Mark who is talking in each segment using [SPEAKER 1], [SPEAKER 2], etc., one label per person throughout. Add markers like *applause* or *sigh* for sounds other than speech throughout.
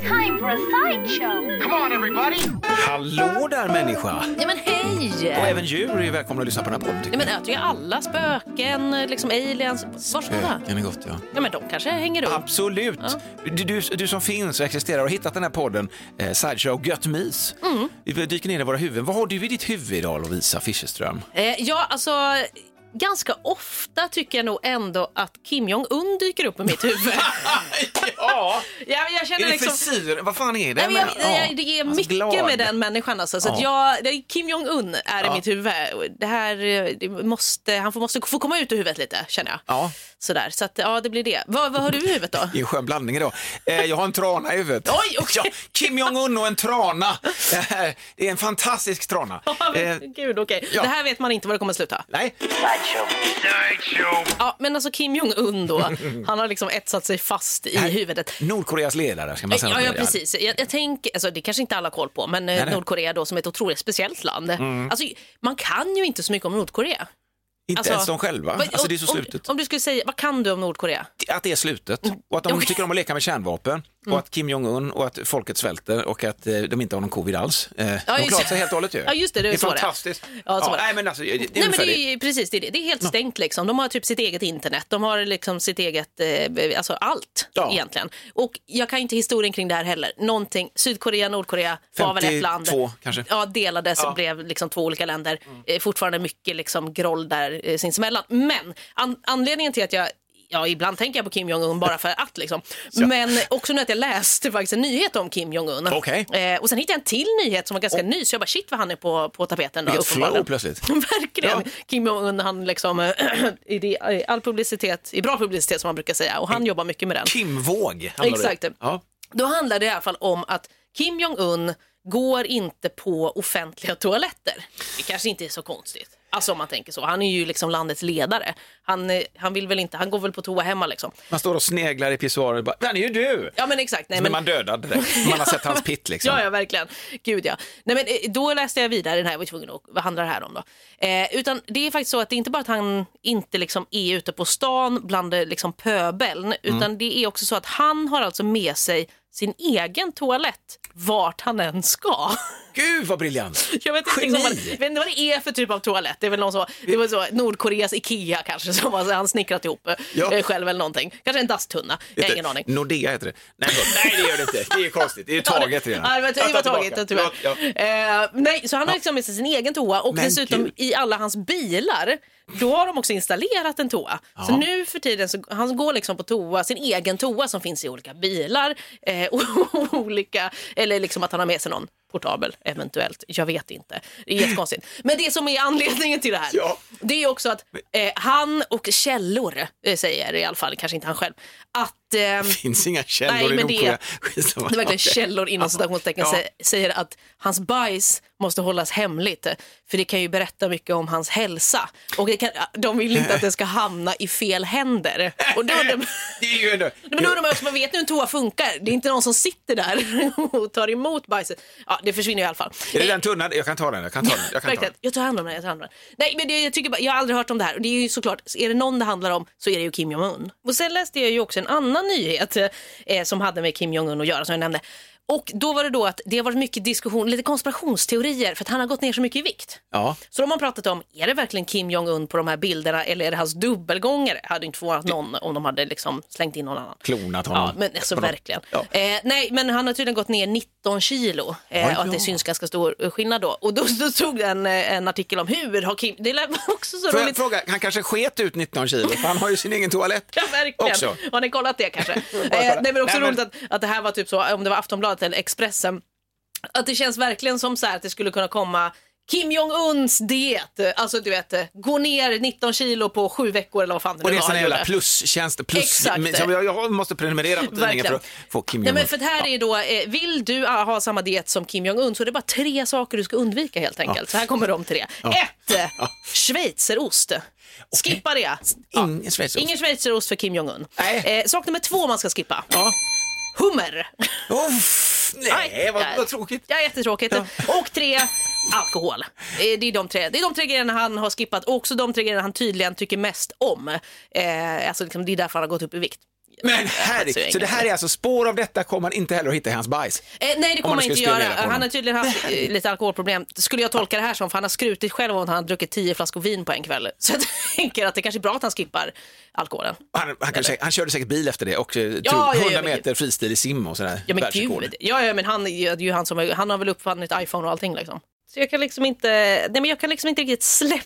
[SPEAKER 1] Time for a sideshow. Come on, everybody.
[SPEAKER 2] Hallå där människa!
[SPEAKER 3] Nej men hej!
[SPEAKER 2] Och även djur är välkomna att lyssna på den här podden.
[SPEAKER 3] Nej men äter ju alla spöken, liksom aliens, varsågoda.
[SPEAKER 2] Öken är gott ja.
[SPEAKER 3] Ja men de kanske hänger runt.
[SPEAKER 2] Absolut! Du, du, du som finns och existerar och har hittat den här podden, eh, Sideshow Gött Mys.
[SPEAKER 3] Mm.
[SPEAKER 2] Vi dyker ner i våra huvuden. Vad har du i ditt huvud idag Lovisa Fischerström?
[SPEAKER 3] Eh, ja alltså, ganska ofta tycker jag nog ändå att Kim Jong-Un dyker upp i
[SPEAKER 2] *laughs*
[SPEAKER 3] mitt huvud.
[SPEAKER 2] ja!
[SPEAKER 3] ja, men jag
[SPEAKER 2] Är
[SPEAKER 3] känner
[SPEAKER 2] det
[SPEAKER 3] liksom...
[SPEAKER 2] frisyr? Vad fan är det?
[SPEAKER 3] Nej, men jag,
[SPEAKER 2] Ja.
[SPEAKER 3] jag, det är
[SPEAKER 2] Alltså,
[SPEAKER 3] mycket
[SPEAKER 2] glad.
[SPEAKER 3] med den människan. Alltså, så att jag, det- Kim Jong-Un är i mitt huvud. Det här, eh, det måste, han får, måste få komma ut ur huvudet lite, känner jag.
[SPEAKER 2] Ja.
[SPEAKER 3] Sådär, så att, ja, det blir det. Vad, vad har du i huvudet
[SPEAKER 2] *laughs*
[SPEAKER 3] då? *laughs*
[SPEAKER 2] Det är en skön blandning idag. Eh, jag har en trana i huvudet.
[SPEAKER 3] Oj, okej.
[SPEAKER 2] *laughs* ja, Kim Jong-Un och en
[SPEAKER 3] *laughs*
[SPEAKER 2] trana. Det här är en fantastisk trana. Eh,
[SPEAKER 3] Gud, okej.
[SPEAKER 2] ja.
[SPEAKER 3] Det här vet man inte var det kommer sluta.
[SPEAKER 2] nej,
[SPEAKER 3] Ja, men alltså Kim
[SPEAKER 2] *laughs*
[SPEAKER 3] Jong-Un då, han har liksom etsat sig fast i huvudet.
[SPEAKER 2] Nordkoreas ledare ska man säga.
[SPEAKER 3] Ja, ja,
[SPEAKER 2] något mer.
[SPEAKER 3] precis. Jag, jag tänker, alltså, det kanske inte alla har koll på, men
[SPEAKER 2] Nej,
[SPEAKER 3] eh,
[SPEAKER 2] Mm. nej.
[SPEAKER 3] Nordkorea då som är ett otroligt speciellt land. Alltså, man kan ju inte så mycket om Nordkorea.
[SPEAKER 2] Inte
[SPEAKER 3] Alltså,
[SPEAKER 2] ens de själva.
[SPEAKER 3] vad-
[SPEAKER 2] Alltså, det är så
[SPEAKER 3] om,
[SPEAKER 2] slutet.
[SPEAKER 3] Om, om du skulle säga, vad kan du om Nordkorea?
[SPEAKER 2] att det är slutet och att de
[SPEAKER 3] Mm. Okej. Mm.
[SPEAKER 2] tycker om att leka med kärnvapen och att Kim Jong-Un och att folket svälter och att eh, de inte har någon covid alls. Eh, de
[SPEAKER 3] just
[SPEAKER 2] klarar
[SPEAKER 3] det.
[SPEAKER 2] sig helt och hållet ju.
[SPEAKER 3] Ja, just det, det är
[SPEAKER 2] är
[SPEAKER 3] så det är.
[SPEAKER 2] fantastiskt.
[SPEAKER 3] Ja, så var det.
[SPEAKER 2] nej, men alltså, det, det är
[SPEAKER 3] Nej, men
[SPEAKER 2] ungefär
[SPEAKER 3] det
[SPEAKER 2] det.
[SPEAKER 3] är, ju- precis, det är, det. det är helt stängt. Liksom. De har typ sitt eget internet, de har liksom sitt eget, eh, alltså allt
[SPEAKER 2] Ja.
[SPEAKER 3] egentligen. Och jag kan inte historien kring det här heller. Någonting, Sydkorea, Nordkorea var väl ett land.
[SPEAKER 2] 52 kanske.
[SPEAKER 3] Ja, delades,
[SPEAKER 2] Ja. Mm.
[SPEAKER 3] blev liksom två olika länder. Eh, Fortfarande mycket liksom groll där eh, sinsemellan. Men an- anledningen till att jag Ja, ibland tänker jag på Kim Jong-Un bara för
[SPEAKER 2] *laughs*
[SPEAKER 3] att. Liksom. Men också nu att jag läste faktiskt en nyhet om Kim Jong-Un.
[SPEAKER 2] Okej.
[SPEAKER 3] Eh, och sen hittade jag en till nyhet som var ganska ny, så jag bara shit vad han är på, på tapeten. Då,
[SPEAKER 2] Vilket flow
[SPEAKER 3] uppenbarligen. *laughs*
[SPEAKER 2] plötsligt.
[SPEAKER 3] Verkligen.
[SPEAKER 2] Ja.
[SPEAKER 3] Kim Jong-Un, han liksom, *clears throat* i det, i all publicitet, i bra publicitet som man brukar säga, och
[SPEAKER 2] Mm.
[SPEAKER 3] han jobbar mycket med den.
[SPEAKER 2] Kim-våg. handlar det.
[SPEAKER 3] Exakt.
[SPEAKER 2] Ja.
[SPEAKER 3] Då handlar det i alla fall om att Kim Jong-Un går inte på offentliga toaletter. Det kanske inte är så konstigt. Alltså om man tänker så. Han är ju liksom landets ledare. Han, eh, han vill väl inte, han går väl på toa hemma liksom.
[SPEAKER 2] Man står och sneglar i pissoarer och bara, den är ju du!
[SPEAKER 3] Ja men exakt. Nej,
[SPEAKER 2] Så blir
[SPEAKER 3] men...
[SPEAKER 2] man dödad
[SPEAKER 3] *laughs*
[SPEAKER 2] direkt. Man har sett hans pitt liksom.
[SPEAKER 3] Ja, ja, verkligen. Gud ja. Nej, men eh, då läste jag vidare den här, jag var tvungen att, vad handlar det här om då? Eh, utan det är faktiskt så att det är inte bara att han inte liksom är ute på stan bland eh, liksom pöbeln,
[SPEAKER 2] Mm.
[SPEAKER 3] utan det är också så att han har alltså med sig sin egen toalett vart han än ska. *laughs*
[SPEAKER 2] Gud vad briljant!
[SPEAKER 3] Jag vet inte,
[SPEAKER 2] Geni!
[SPEAKER 3] liksom, vad, jag vet inte vad det är för typ av toalett. Det är väl någon så, det var så Nordkoreas Ikea kanske som alltså, han snickrat ihop eh,
[SPEAKER 2] Ja.
[SPEAKER 3] eh, själv eller någonting. Kanske en dasstunna. Jag har ingen aning.
[SPEAKER 2] Nordea heter det. Nej, nej, det gör det inte. Det är konstigt. Det är ju taget redan.
[SPEAKER 3] *laughs* Ja, det var, det var
[SPEAKER 2] Jag tar
[SPEAKER 3] taget,
[SPEAKER 2] tillbaka.
[SPEAKER 3] tyvärr.
[SPEAKER 2] Ja, ja.
[SPEAKER 3] Eh, nej, så han har liksom med sig sin egen toa och
[SPEAKER 2] Men
[SPEAKER 3] dessutom
[SPEAKER 2] gud.
[SPEAKER 3] i alla hans bilar, då har de också installerat en toa. Så nu för tiden så han går liksom på toa, sin egen toa som finns i olika bilar eh, *laughs* och olika, eller liksom att han har med sig någon portabel eventuellt. Jag vet inte. Det är jättekonstigt. Men det som är anledningen till det här,
[SPEAKER 2] Ja.
[SPEAKER 3] det är också att eh, han och källor eh, säger i alla fall, kanske inte han själv, att ehm,
[SPEAKER 2] finns inga källor
[SPEAKER 3] Nej,
[SPEAKER 2] i
[SPEAKER 3] men det-
[SPEAKER 2] Nordkorea. *laughs* Skitsamma.
[SPEAKER 3] det är verkligen
[SPEAKER 2] Okej.
[SPEAKER 3] källor inom citationstecken
[SPEAKER 2] Ja.
[SPEAKER 3] sä- säger att hans bajs måste hållas hemligt för det kan ju berätta mycket om hans hälsa och det kan, de vill inte att det ska hamna i fel händer. Och då,
[SPEAKER 2] *laughs*
[SPEAKER 3] de,
[SPEAKER 2] Det är ju ändå...
[SPEAKER 3] men då undrar man också, man vet nu hur en toa funkar? Det är inte någon som sitter där *laughs* och tar emot bajset. Ja, det försvinner i alla fall.
[SPEAKER 2] Är det den tunnan? Jag kan ta den. Jag kan ta den. Jag kan ta den.
[SPEAKER 3] Verkligen. Jag tar hand om den. Jag, tar hand om den. Nej, men det, jag, tycker bara, jag har aldrig hört om det här. Och det är ju såklart, är det någon det handlar om så är det ju Kim Jong-Un. Och sen läste jag ju också en annan nyhet eh, som hade med Kim Jong-Un att göra som jag nämnde. Och då var det då att det har varit mycket diskussion, lite konspirationsteorier för att han har gått ner så mycket i vikt.
[SPEAKER 2] Ja.
[SPEAKER 3] Så de har pratat om, är det verkligen Kim Jong-Un på de här bilderna eller är det hans dubbelgångare? Hade inte förvånat någon om de hade liksom slängt in någon annan.
[SPEAKER 2] Klonat honom.
[SPEAKER 3] Ja, men alltså
[SPEAKER 2] På något-
[SPEAKER 3] verkligen.
[SPEAKER 2] Ja.
[SPEAKER 3] Eh, nej, men han har tydligen gått ner 19 kilo eh,
[SPEAKER 2] Oj
[SPEAKER 3] och att
[SPEAKER 2] då.
[SPEAKER 3] det syns ganska stor eh, skillnad då. Och då, då tog jag en, eh, en artikel om hur har Kim, det lät *laughs* också så
[SPEAKER 2] Får jag
[SPEAKER 3] roligt.
[SPEAKER 2] fråga, han kanske sket ut 19 kilo för han har ju sin egen toalett
[SPEAKER 3] Ja, verkligen.
[SPEAKER 2] också.
[SPEAKER 3] Har ni kollat det kanske? eh,
[SPEAKER 2] *laughs* bara kolla.
[SPEAKER 3] nej, men också
[SPEAKER 2] Nej, men-
[SPEAKER 3] roligt att, att det här var typ så, om det var Aftonbladet eller Expressen, att det känns verkligen som så här att det skulle kunna komma Kim Jong-Uns diet, alltså du vet, eh, gå ner 19 kilo på sju veckor eller vad fan det
[SPEAKER 2] Och det är
[SPEAKER 3] nu
[SPEAKER 2] en
[SPEAKER 3] var
[SPEAKER 2] sån
[SPEAKER 3] han
[SPEAKER 2] här jävla
[SPEAKER 3] gjorde.
[SPEAKER 2] plustjänst. Plus,
[SPEAKER 3] Exakt.
[SPEAKER 2] som jag, jag måste prenumerera på tidningen
[SPEAKER 3] Verkligen.
[SPEAKER 2] för att få Kim
[SPEAKER 3] Nej,
[SPEAKER 2] Jong-Un.
[SPEAKER 3] men för det här är då, eh, vill du ah, ha samma diet som Kim Jong-Un så det är bara tre saker du ska undvika helt enkelt. Så här kommer de tre. Ett, eh, Schweizerost. Skippa det.
[SPEAKER 2] Ingen schweizerost.
[SPEAKER 3] Ingen schweizerost för Kim Jong-Un.
[SPEAKER 2] Nej.
[SPEAKER 3] Eh, sak nummer två man ska skippa. Hummer.
[SPEAKER 2] Uff, nej, vad, vad tråkigt.
[SPEAKER 3] Ja, jättetråkigt. Och tre, alkohol. Eh, Det är, de tre. det är de tre grejerna han har skippat och också de tre grejerna han tydligen tycker mest om. Eh, alltså liksom, det är därför han har gått upp i vikt.
[SPEAKER 2] Men
[SPEAKER 3] fattar ju
[SPEAKER 2] herregud, så det här är alltså spår av detta kommer man inte heller att hitta i hans bajs.
[SPEAKER 3] Eh, nej,
[SPEAKER 2] Om
[SPEAKER 3] det kommer
[SPEAKER 2] man
[SPEAKER 3] han inte
[SPEAKER 2] skulle
[SPEAKER 3] göra.
[SPEAKER 2] spionera på
[SPEAKER 3] Han har
[SPEAKER 2] honom.
[SPEAKER 3] tydligen
[SPEAKER 2] *laughs*
[SPEAKER 3] haft eh, lite alkoholproblem. Skulle jag tolka det här som, för han har skrutit själv om att han har druckit tio flaskor vin på en kväll. *laughs* Så jag tänker att det kanske är bra att han skippar alkoholen.
[SPEAKER 2] Han, han, kan, säkert- han körde säkert bil efter det och eh, tog
[SPEAKER 3] ja, ja,
[SPEAKER 2] 100
[SPEAKER 3] men
[SPEAKER 2] meter fristil i sim och sådär.
[SPEAKER 3] Ja men
[SPEAKER 2] Världsrekord.
[SPEAKER 3] gud. Ja, ja men han, är ju- det är ju han, som, har- han har väl uppfunnit iPhone och allting liksom. Så jag kan liksom inte, nej men jag kan liksom inte riktigt släppa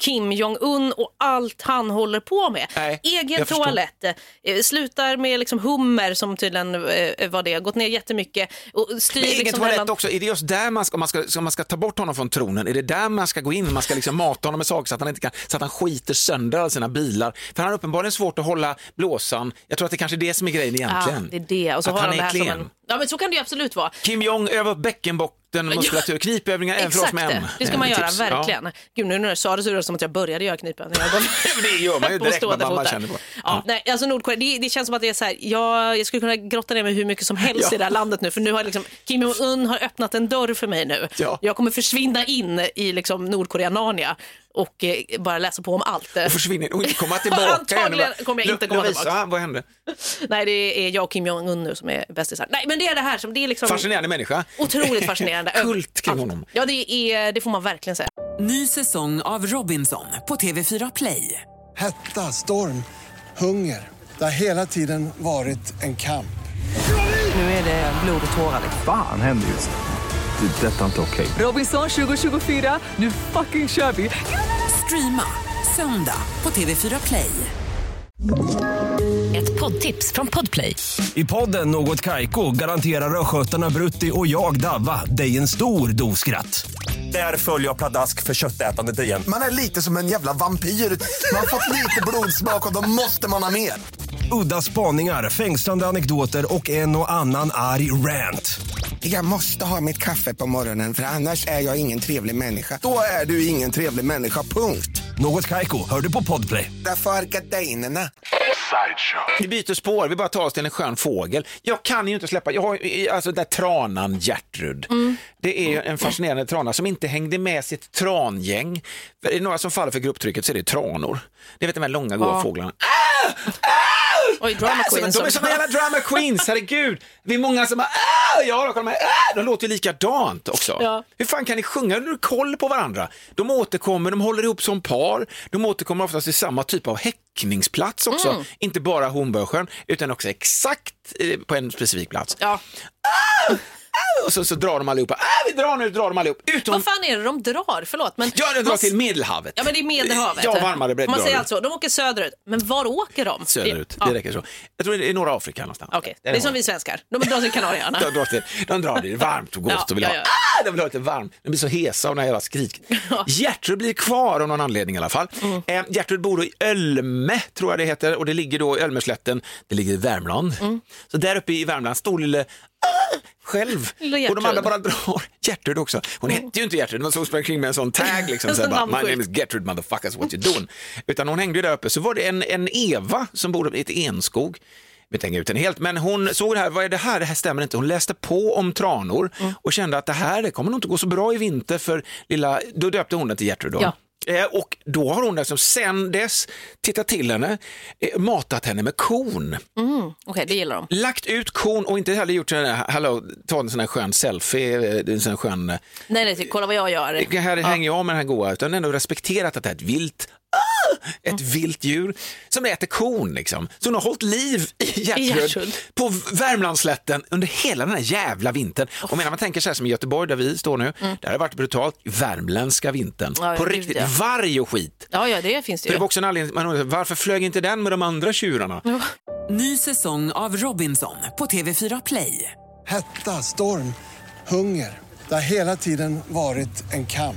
[SPEAKER 3] Kim Jong-Un och allt han håller på med.
[SPEAKER 2] Nej,
[SPEAKER 3] Egen
[SPEAKER 2] jag förstår.
[SPEAKER 3] toalett, eh, slutar med liksom hummer som tydligen eh, var det, gått ner jättemycket och styr
[SPEAKER 2] Men egen
[SPEAKER 3] liksom
[SPEAKER 2] toalett
[SPEAKER 3] mellan-
[SPEAKER 2] också, är det just där man ska, om man ska, om man ska ta bort honom från tronen, är det där man ska gå in, man ska liksom mata honom med saker så att han inte kan, så att han skiter sönder alla sina bilar. För han har uppenbarligen svårt att hålla blåsan, jag tror att det kanske är det som är grejen
[SPEAKER 3] Ja,
[SPEAKER 2] egentligen.
[SPEAKER 3] det är det. Och så
[SPEAKER 2] att
[SPEAKER 3] har
[SPEAKER 2] han
[SPEAKER 3] han det
[SPEAKER 2] är
[SPEAKER 3] här
[SPEAKER 2] klen.
[SPEAKER 3] som en, ja men så kan det ju absolut vara.
[SPEAKER 2] Kim Jong, öva upp bäckenbotten, muskulatur, knipövningar även för oss
[SPEAKER 3] Exakt,
[SPEAKER 2] män.
[SPEAKER 3] det ska man
[SPEAKER 2] Eh,
[SPEAKER 3] göra,
[SPEAKER 2] tips. *laughs*
[SPEAKER 3] verkligen. Gud, nu när jag sa det så är det som att jag började göra knipen.
[SPEAKER 2] men det gör man ju direkt, man bara- man känner på.
[SPEAKER 3] Ja,
[SPEAKER 2] Ja.
[SPEAKER 3] Nej, alltså Nordkorea, det, det känns som att det är så här, jag, jag skulle kunna grotta ner mig hur mycket som helst i det här landet nu, för nu har liksom, Kim Jong-Un har öppnat en dörr för mig nu.
[SPEAKER 2] Ja.
[SPEAKER 3] Jag kommer försvinna in i liksom Nordkorea Narnia och eh, bara läsa på om allt.
[SPEAKER 2] Och försvinner och inte komma tillbaka. igen.
[SPEAKER 3] *laughs* Antagligen kommer jag inte komma
[SPEAKER 2] Lovisa,
[SPEAKER 3] tillbaka.
[SPEAKER 2] vad hände?
[SPEAKER 3] Nej, det är jag och Kim Jong-Un nu som är bästisar. Nej, men det är det här som, det är liksom
[SPEAKER 2] Fascinerande människa.
[SPEAKER 3] otroligt fascinerande.
[SPEAKER 2] *laughs* Kult kring honom.
[SPEAKER 3] Ja, det, är, det får man verkligen säga.
[SPEAKER 4] Ny säsong av Robinson på TV4 Play.
[SPEAKER 5] Hetta, storm, hunger. Det har hela tiden varit en kamp.
[SPEAKER 4] Nu är det blod och tårar. liksom.
[SPEAKER 6] Fan händer just det. Det är detta inte okej.
[SPEAKER 4] Robinson 2024, nu fucking kör vi! Streama söndag på TV4 Play.
[SPEAKER 7] Ett poddtips från Podplay.
[SPEAKER 8] I podden Något Kaiko garanterar östgötarna Brutti och jag, Davva, dig en stor dos skratt. Där följer jag pladask för köttätandet igen.
[SPEAKER 9] Man är lite som en jävla vampyr. Man har fått lite blodsmak och då måste man ha mer.
[SPEAKER 8] Udda spaningar, fängslande anekdoter och en och annan arg rant.
[SPEAKER 9] Jag måste ha mitt kaffe på morgonen för annars är jag ingen trevlig människa. Då är du ingen trevlig människa, punkt.
[SPEAKER 8] Något Kaiko, hör du på Podplay.
[SPEAKER 9] Därför är gardinerna.
[SPEAKER 2] Vi byter spår, vi bara tar oss till en skön fågel. Jag kan ju inte släppa, jag har ju- alltså den där tranan Gertrud. Det är ju en fascinerande trana som inte hängde med sitt trangäng. För Är det några som faller för grupptrycket så är det tranor. Det vet de här långa goa fåglarna.
[SPEAKER 3] Oj, drama
[SPEAKER 2] Alltså,
[SPEAKER 3] queen.
[SPEAKER 2] men de är
[SPEAKER 3] som-
[SPEAKER 2] som jävla drama queens, herregud. Vi är många som bara, "Ah!" ja, då, kolla med, "Ah!" de låter ju likadant också.
[SPEAKER 3] Ja.
[SPEAKER 2] Hur fan kan ni sjunga när du har koll på varandra? De återkommer, de håller ihop som par, de återkommer oftast i samma typ av häckningsplats också.
[SPEAKER 3] Mm.
[SPEAKER 2] Inte bara Hornborgasjön, utan också exakt eh, på en specifik plats.
[SPEAKER 3] Ja.
[SPEAKER 2] Och så, så drar de allihopa, "Ah, vi drar nu, drar de allihop, utom,
[SPEAKER 3] Vad fan är det de drar? Förlåt. Men
[SPEAKER 2] ja, de
[SPEAKER 3] man
[SPEAKER 2] drar
[SPEAKER 3] s-
[SPEAKER 2] till Medelhavet.
[SPEAKER 3] Ja, men det är Medelhavet.
[SPEAKER 2] Ja, varmare bredd
[SPEAKER 3] Man
[SPEAKER 2] drar
[SPEAKER 3] säger
[SPEAKER 2] du.
[SPEAKER 3] alltså, de åker söderut. Men var åker de?
[SPEAKER 2] Söderut,
[SPEAKER 3] Ja.
[SPEAKER 2] det räcker så. Jag tror det är i norra Afrika någonstans.
[SPEAKER 3] Okej,
[SPEAKER 2] Där
[SPEAKER 3] det är
[SPEAKER 2] har
[SPEAKER 3] som
[SPEAKER 2] de.
[SPEAKER 3] vi svenskar. De drar till Kanarieöarna.
[SPEAKER 2] De drar, till, de drar det, det är varmt och gott
[SPEAKER 3] Ja,
[SPEAKER 2] och vill ha,
[SPEAKER 3] ja,
[SPEAKER 2] Ah, de vill ha lite varmt. De blir så hesa av den här jävla
[SPEAKER 3] *laughs*
[SPEAKER 2] skrik. Gertrud blir kvar av någon anledning i alla fall.
[SPEAKER 3] Mm.
[SPEAKER 2] Eh, Gertrud bor då i Ölme, tror jag det heter, och det ligger då i Ölmeslätten, det ligger i Värmland.
[SPEAKER 3] Mm.
[SPEAKER 2] Så där uppe i Värmland står lille ah, själv
[SPEAKER 3] Lilla
[SPEAKER 2] och de
[SPEAKER 3] Gertrud. Mm.
[SPEAKER 2] andra bara drar. Gertrud också. Hon hette ju inte Gertrud, det var så hon sprang kring med en sån tag liksom. Så här bara,
[SPEAKER 3] Namnskylt.
[SPEAKER 2] My name is Gertrud motherfuckers, what you doing? Utan hon hängde ju där uppe. Så var det en, en Eva som bodde i ett enskog. Vi tänker ut den helt, men hon såg det här, vad är det här, det här stämmer inte. Hon läste på om tranor och kände att det här det kommer nog inte gå så bra i vinter för lilla, då döpte hon den till Gertrud då.
[SPEAKER 3] Ja.
[SPEAKER 2] Eh, Och då har hon liksom sen dess tittat till henne, eh, matat henne med korn
[SPEAKER 3] Okej, det gillar de.
[SPEAKER 2] lagt ut kon och inte heller gjort den där, hallå, ta en sån här skön selfie, eh, en sån här skön, eh,
[SPEAKER 3] Nej, nej, kolla vad jag gör.
[SPEAKER 2] det här hänger jag med den här goa, utan ändå respekterat att det är ett vilt, ah, ett
[SPEAKER 3] Mm.
[SPEAKER 2] vilt djur som äter kon liksom. Så hon har hållit liv i Gertrud
[SPEAKER 3] Gertrud.
[SPEAKER 2] på Värmlandsslätten under hela den här jävla vintern. Och menar man tänker så här som i Göteborg där vi står nu, där har det varit brutalt, värmländska vintern,
[SPEAKER 3] Mm. Ja,
[SPEAKER 2] på
[SPEAKER 3] gud,
[SPEAKER 2] riktigt,
[SPEAKER 3] ja.
[SPEAKER 2] varg och skit.
[SPEAKER 3] Ja, ja, det finns det
[SPEAKER 2] För det
[SPEAKER 3] ju.
[SPEAKER 2] var också en anledning, man undrar, varför flög inte den med de andra tjurarna?
[SPEAKER 4] Ny säsong av Robinson på TV4 Play.
[SPEAKER 5] Hetta, storm, hunger. Det har hela tiden varit en kamp.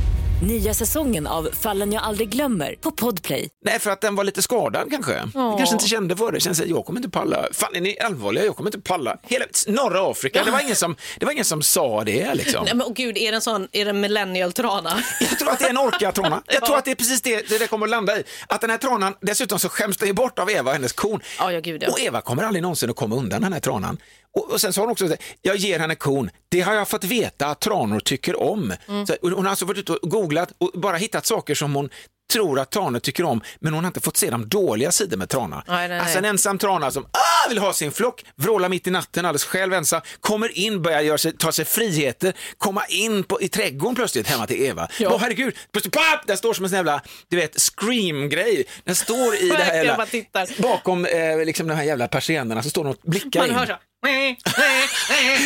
[SPEAKER 7] Nya säsongen av Fallen jag aldrig glömmer på Podplay.
[SPEAKER 2] Nej, för att den var lite skadad kanske. Jag kanske inte kände för det. Jag kände att jag kommer inte palla. Fan, är ni allvarliga? Jag kommer inte palla. Hela norra Afrika, det var ingen som, det var ingen som sa det liksom.
[SPEAKER 3] Nej, men åh gud, är det en sån, är det en millennial-trana?
[SPEAKER 2] Jag tror att det är en
[SPEAKER 3] *laughs*
[SPEAKER 2] orka-trana. Jag tror att det är precis det det där kommer att landa i. Att den här tranan, dessutom så skäms den ju bort av Eva och hennes kon.
[SPEAKER 3] Ja, ja, gud, ja.
[SPEAKER 2] Och Eva kommer aldrig någonsin att komma undan den här tranan. Och, och sen sa hon också, jag ger henne kon, det har jag fått veta att tranor tycker om.
[SPEAKER 3] Mm.
[SPEAKER 2] Så, hon har alltså varit ute och googlat och bara hittat saker som hon tror att tranor tycker om, men hon har inte fått se de dåliga sidorna med tranar.
[SPEAKER 3] Nej, nej, nej.
[SPEAKER 2] Alltså en ensam trana som ah, vill ha sin flock, vrålar mitt i natten alldeles själv ensam, kommer in, börjar göra sig, ta sig friheter, komma in på, i trädgården plötsligt hemma till Eva. Åh herregud, plötsligt pap, den står som en sån jävla, du vet, scream-grej. Den
[SPEAKER 3] *laughs*
[SPEAKER 2] står i det här
[SPEAKER 3] Verkligen,
[SPEAKER 2] jävla,
[SPEAKER 3] man tittar.
[SPEAKER 2] bakom eh, liksom de här jävla persiennerna så står de och blickar
[SPEAKER 3] Man
[SPEAKER 2] in.
[SPEAKER 3] hör så.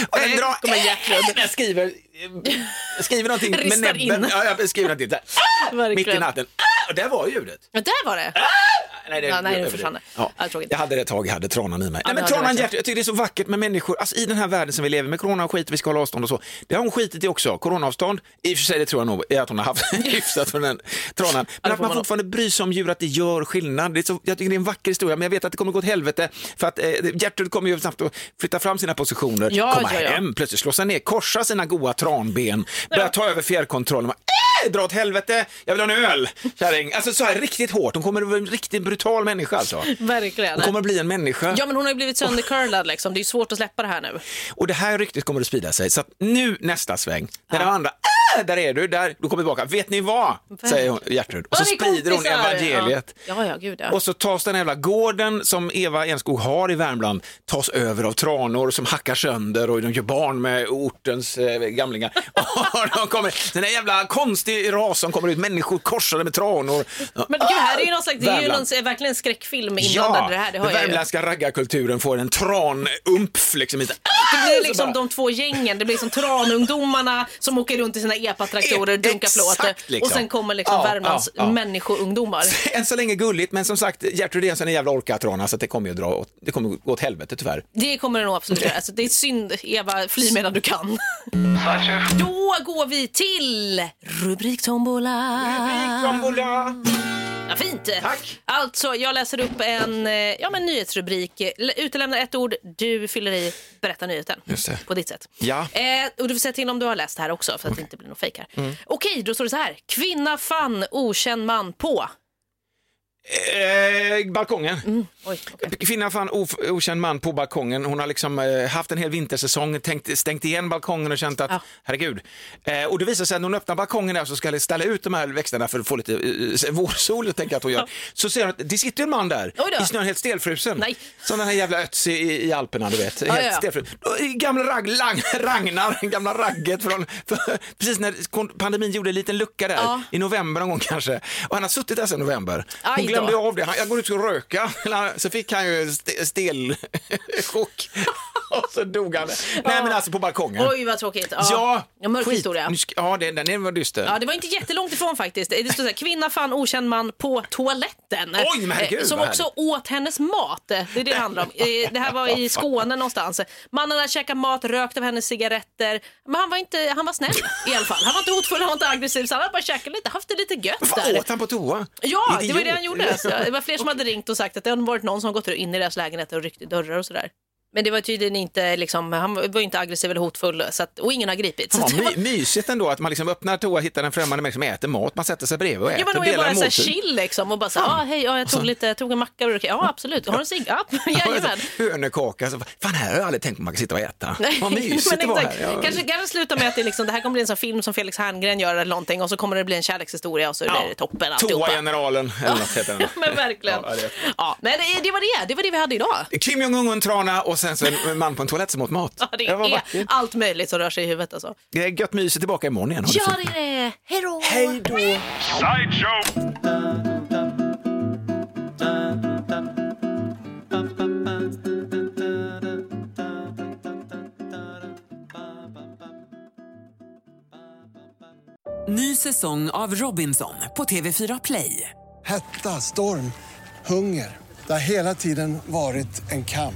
[SPEAKER 2] Och den drar,
[SPEAKER 3] Kommer hjärtljud.
[SPEAKER 2] jag *laughs* skriver, jag skriver någonting med
[SPEAKER 3] Ristar in.
[SPEAKER 2] näbben. Ja, jag skriver någonting så här.
[SPEAKER 3] *laughs* Verkligen.
[SPEAKER 2] Mitt i natten. Ah! Och där var ljudet.
[SPEAKER 3] Men där var det.
[SPEAKER 2] Nej, det,
[SPEAKER 3] Ja, nej, det
[SPEAKER 2] överdrivet.
[SPEAKER 3] försvann det.
[SPEAKER 2] Ja.
[SPEAKER 3] Ja, tråkigt.
[SPEAKER 2] Jag hade det ett tag, jag hade tranan i mig.
[SPEAKER 3] Ja,
[SPEAKER 2] nej, men
[SPEAKER 3] det hade
[SPEAKER 2] tranan
[SPEAKER 3] du
[SPEAKER 2] hjärtat, jag tycker det är så vackert med människor, alltså, i den här världen som vi lever med, corona och skit, vi ska hålla avstånd och så. Det har hon skitit i också, coronaavstånd, i och för sig det tror jag nog är att hon har haft *laughs* hyfsat för den tranan. Men att
[SPEAKER 3] får
[SPEAKER 2] man
[SPEAKER 3] man.
[SPEAKER 2] fortfarande bryr sig om djur, att det gör skillnad. Det är så, jag tycker det är en vacker historia, men jag vet att det kommer gå åt helvete för att eh, Gertrud kommer ju snabbt att flytta fram sina positioner,
[SPEAKER 3] Ja,
[SPEAKER 2] komma
[SPEAKER 3] ja, ja.
[SPEAKER 2] hem, plötsligt slå sig ner, korsa sina goa tranben, börja ta över fjärrkontrollen. Man, "Äh, Dra åt helvete, jag vill ha en öl, kärring. Alltså så här riktigt hårt, hon kommer att vara en riktigt brutal människa alltså.
[SPEAKER 3] Verkligen.
[SPEAKER 2] Hon kommer att bli en människa.
[SPEAKER 3] Ja, men hon har ju blivit söndercurlad liksom. Det är ju svårt att släppa det här nu.
[SPEAKER 2] Och det här ryktet kommer att sprida sig. Så att nu nästa sväng, där är andra, äh, där är du, där, du kommer tillbaka. Vet ni vad? Säger hon, Gertrud. Och så
[SPEAKER 3] Var är
[SPEAKER 2] sprider hon
[SPEAKER 3] kompisar?
[SPEAKER 2] evangeliet.
[SPEAKER 3] Ja, ja, ja, gud ja.
[SPEAKER 2] Och så tas den jävla gården som Eva Enskog har i Värmland, tas över av tranor som hackar sönder och de gör barn med ortens eh, gamlingar. *laughs* Och de kommer, den här jävla konstig ras som kommer ut, människor korsade med tranor.
[SPEAKER 3] Men gud, här är ju någon slags, det är ju
[SPEAKER 2] Värmland.
[SPEAKER 3] någon, verkligen en skräckfilm inblandad i det här, det hör
[SPEAKER 2] den
[SPEAKER 3] jag ju.
[SPEAKER 2] värmländska raggarkulturen får en tranumpf liksom. inte-
[SPEAKER 3] Det blir liksom
[SPEAKER 2] bara-
[SPEAKER 3] de två gängen, det blir som tranungdomarna som åker runt i sina epatraktorer och dunkar
[SPEAKER 2] Exakt,
[SPEAKER 3] plåt.
[SPEAKER 2] liksom.
[SPEAKER 3] Och sen kommer liksom
[SPEAKER 2] Ja,
[SPEAKER 3] Värmlands
[SPEAKER 2] ja, ja.
[SPEAKER 3] människoungdomar.
[SPEAKER 2] *laughs* Än så länge gulligt, men som sagt, Gertrud är en sån jävla orkatrana så att det kommer ju att dra åt, det kommer att gå åt helvete tyvärr.
[SPEAKER 3] Det kommer det nog absolut göra. Alltså, det är synd, Eva, fly medan du kan. Då går vi till rubriktombola. Ja, fint!
[SPEAKER 2] Tack.
[SPEAKER 3] Alltså, jag läser upp en eh, ja, men nyhetsrubrik. L- Utelämna ett ord, du fyller i, berätta nyheten.
[SPEAKER 2] Just det.
[SPEAKER 3] På ditt sätt.
[SPEAKER 2] Ja.
[SPEAKER 3] Eh, och du får säga till om du har läst det här också, för att det inte blir något fejk här.
[SPEAKER 2] Mm.
[SPEAKER 3] Okej, då står det så här. Kvinna fann okänd man på...
[SPEAKER 2] Eh, balkongen.
[SPEAKER 3] Oj, okej.
[SPEAKER 2] Kvinna fann of, okänd man på balkongen. Hon har liksom eh, haft en hel vintersäsong, tänkt, stängt igen balkongen och känt att
[SPEAKER 3] Ja.
[SPEAKER 2] herregud. Eh, och det visar sig att när hon öppnar balkongen där så ska ställa ut de här växterna för att få lite eh, vårsol, tänker jag att hon gör. Så ser hon att det sitter en man där
[SPEAKER 3] Oj då.
[SPEAKER 2] i snön helt stelfrusen.
[SPEAKER 3] Nej.
[SPEAKER 2] Som den här jävla Ötzi i, i Alperna, du vet.
[SPEAKER 3] ja,
[SPEAKER 2] helt
[SPEAKER 3] ja.
[SPEAKER 2] stelfrusen. Och i Gamla rag, lang, Ragnar, gamla ragget från, för, precis när kon- pandemin gjorde en liten lucka där
[SPEAKER 3] Ja.
[SPEAKER 2] i november någon gång kanske. Och han har suttit där sedan november.
[SPEAKER 3] Aj
[SPEAKER 2] Hon
[SPEAKER 3] då.
[SPEAKER 2] glömde av det. Han, jag går ut och ska röka. Eller han- Så fick han ju st- *laughs* stelchock. och så dog han. Nej men alltså på balkongen.
[SPEAKER 3] Oj, vad tråkigt. Ja,
[SPEAKER 2] Ja,
[SPEAKER 3] mörk
[SPEAKER 2] skit.
[SPEAKER 3] historia.
[SPEAKER 2] Nu ska- Ja, den, den var dyster.
[SPEAKER 3] Ja, det var inte jättelångt ifrån faktiskt. Det stod så här, kvinna fann okänd man på toaletten.
[SPEAKER 2] Oj, men herregud,
[SPEAKER 3] Eh, Som
[SPEAKER 2] vad
[SPEAKER 3] också åt hennes mat. Det är det det handlar om. Eh, Det här
[SPEAKER 2] *laughs*
[SPEAKER 3] var i Skåne någonstans. Mannen hade käkat mat, rökt av hennes cigaretter. Men han var, inte, han var snäll i alla fall. Han var inte hotfull, han var inte aggressiv. Så han hade bara käkat lite, haft det lite gött
[SPEAKER 2] Vad
[SPEAKER 3] där.
[SPEAKER 2] åt han på toa?
[SPEAKER 3] Ja, det var
[SPEAKER 2] Idiot.
[SPEAKER 3] det han gjorde. Alltså. Det
[SPEAKER 2] *laughs*
[SPEAKER 3] var fler som hade ringt och sagt att det hade varit någon som gått in i deras lägenheter och ryckt i dörrar och sådär. Men det var tydligen inte, liksom, han var inte aggressiv eller hotfull så att, och ingen har gripits. Så
[SPEAKER 2] Ja,
[SPEAKER 3] att det var-
[SPEAKER 2] my, mysigt ändå att man liksom öppnar toa, hittar en främmande människa som äter mat, man sätter sig bredvid och typ. äter,
[SPEAKER 3] Ja, men då är jag
[SPEAKER 2] delar
[SPEAKER 3] bara
[SPEAKER 2] en
[SPEAKER 3] så här
[SPEAKER 2] måltid.
[SPEAKER 3] chill liksom och bara så här, ah, hej, ja, jag tog lite, jag tog en macka och rökte." ja absolut, har du en cigg? Ja, *laughs* jajamän.
[SPEAKER 2] Hönökaka, så, fan här har jag aldrig tänkt på man kan sitta och äta.
[SPEAKER 3] Nej,
[SPEAKER 2] Vad
[SPEAKER 3] *laughs*
[SPEAKER 2] mysigt det var
[SPEAKER 3] exakt.
[SPEAKER 2] här. Ja.
[SPEAKER 3] Kanske, kanske sluta med att det, är liksom, det här kommer bli en sån film som Felix Herngren gör eller någonting och så kommer det bli en kärlekshistoria och så är det toppen alltihopa.
[SPEAKER 2] Toa generalen eller något
[SPEAKER 3] *laughs*
[SPEAKER 2] heter den.
[SPEAKER 3] Men verkligen.
[SPEAKER 2] Ja, jag vet.
[SPEAKER 3] Ja, nej, det, det var det, det var det vi hade idag.
[SPEAKER 2] Kim Jong-Un, trana och sen så en man på en toalett som åt mat.
[SPEAKER 3] Ja, det
[SPEAKER 2] var
[SPEAKER 3] är
[SPEAKER 2] vackert.
[SPEAKER 3] allt möjligt som rör sig i huvudet alltså.
[SPEAKER 2] Det är gött mys tillbaka imorgon igen. Ha det
[SPEAKER 3] Ja,
[SPEAKER 2] fint.
[SPEAKER 3] det är det. Hej då!
[SPEAKER 1] Sideshow.
[SPEAKER 4] Ny säsong av Robinson på TV4 Play.
[SPEAKER 5] Hetta, storm, hunger. Det har hela tiden varit en kamp.